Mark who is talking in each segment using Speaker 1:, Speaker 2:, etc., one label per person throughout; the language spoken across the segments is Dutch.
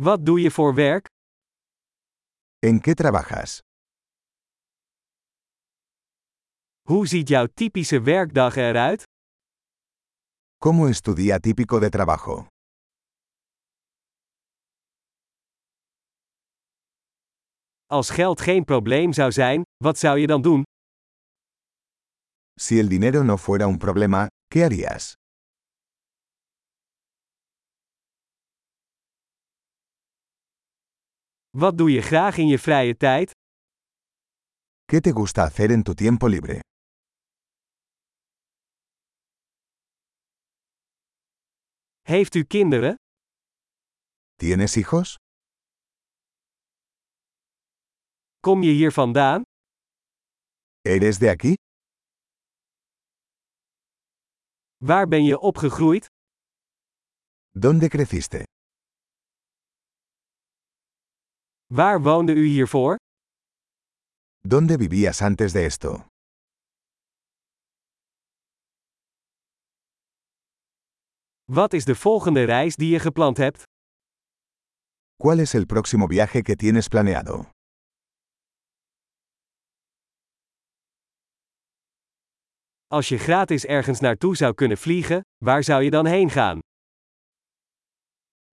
Speaker 1: Wat doe je voor werk?
Speaker 2: ¿En qué trabajas?
Speaker 1: Hoe ziet jouw typische werkdag eruit?
Speaker 2: ¿Cómo es tu día típico de trabajo?
Speaker 1: Als geld geen probleem zou zijn, wat zou je dan doen?
Speaker 2: Si el dinero no fuera un problema, ¿qué harías?
Speaker 1: Wat doe je graag in je vrije tijd?
Speaker 2: ¿Qué te gusta hacer en tu tiempo libre?
Speaker 1: Heeft u kinderen?
Speaker 2: ¿Tienes hijos?
Speaker 1: Kom je hier vandaan?
Speaker 2: ¿Eres de aquí?
Speaker 1: Waar ben je opgegroeid?
Speaker 2: ¿Dónde creciste?
Speaker 1: Waar woonde u hiervoor?
Speaker 2: ¿Dónde vivías antes de esto?
Speaker 1: Wat is de volgende reis die je gepland hebt?
Speaker 2: ¿Cuál es el próximo viaje que tienes planeado?
Speaker 1: Als je gratis ergens naartoe zou kunnen vliegen, waar zou je dan heen gaan?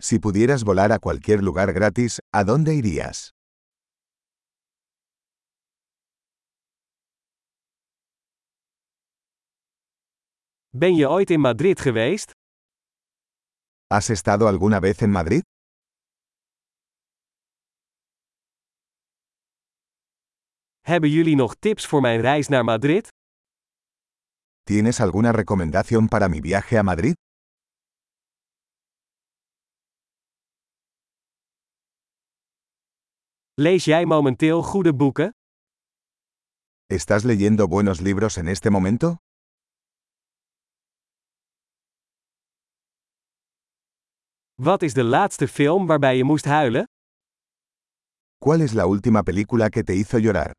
Speaker 2: Si pudieras volar a cualquier lugar gratis, ¿a dónde irías?
Speaker 1: Ben je ooit in Madrid geweest?
Speaker 2: ¿Has estado alguna vez en Madrid?
Speaker 1: Hebben jullie nog tips voor mijn reis naar Madrid?
Speaker 2: ¿Tienes alguna recomendación para mi viaje a Madrid?
Speaker 1: Lees jij momenteel goede boeken?
Speaker 2: ¿Estás leyendo buenos libros en este momento?
Speaker 1: Wat is de laatste film waarbij je moest huilen?
Speaker 2: ¿Cuál es la última película que te hizo llorar?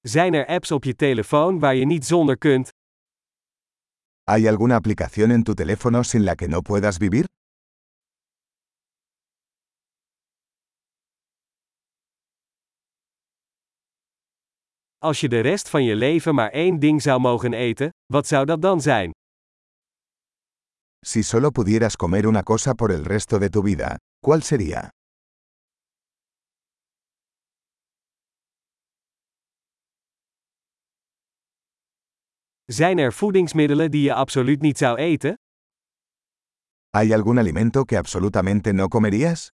Speaker 1: Zijn er apps op je telefoon waar je niet zonder kunt?
Speaker 2: ¿Hay alguna aplicación en tu teléfono sin la que no puedas vivir?
Speaker 1: Als je de rest van je leven maar één ding zou mogen eten, wat zou dat dan zijn?
Speaker 2: Si solo pudieras comer una cosa por el resto de tu vida, ¿cuál sería?
Speaker 1: Zijn er voedingsmiddelen die je absoluut niet zou eten?
Speaker 2: ¿Hay algún alimento que absolutamente no comerías?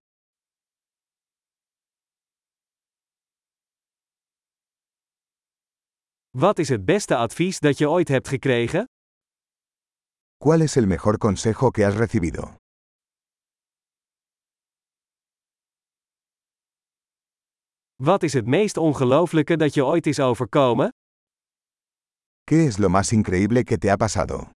Speaker 1: Wat is het beste advies dat je ooit hebt gekregen?
Speaker 2: ¿Cuál es el mejor consejo que has recibido?
Speaker 1: Wat is het meest ongelooflijke dat je ooit is overkomen?
Speaker 2: ¿Qué es lo más increíble que te ha pasado?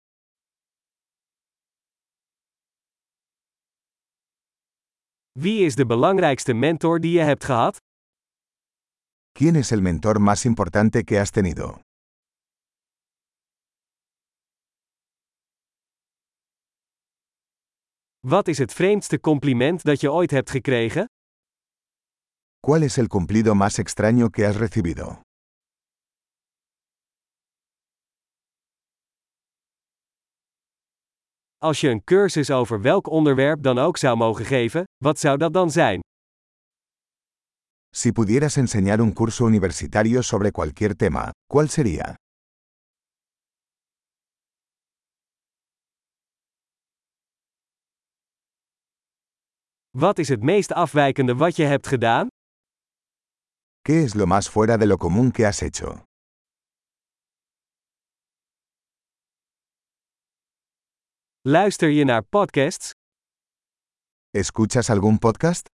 Speaker 1: Wie is de belangrijkste mentor die je hebt gehad?
Speaker 2: ¿Quién es el mentor más importante que has tenido?
Speaker 1: Wat is het vreemdste compliment dat je ooit hebt gekregen?
Speaker 2: ¿Cuál es el cumplido más extraño que has recibido?
Speaker 1: Als je een cursus over welk onderwerp dan ook zou mogen geven, wat zou dat dan zijn?
Speaker 2: Si pudieras enseñar un curso universitario sobre cualquier tema, ¿cuál sería?
Speaker 1: Wat is het meest afwijkende wat je hebt gedaan?
Speaker 2: ¿Qué es lo más fuera de lo común que has hecho?
Speaker 1: Luister je naar podcasts?
Speaker 2: ¿Escuchas algún podcast?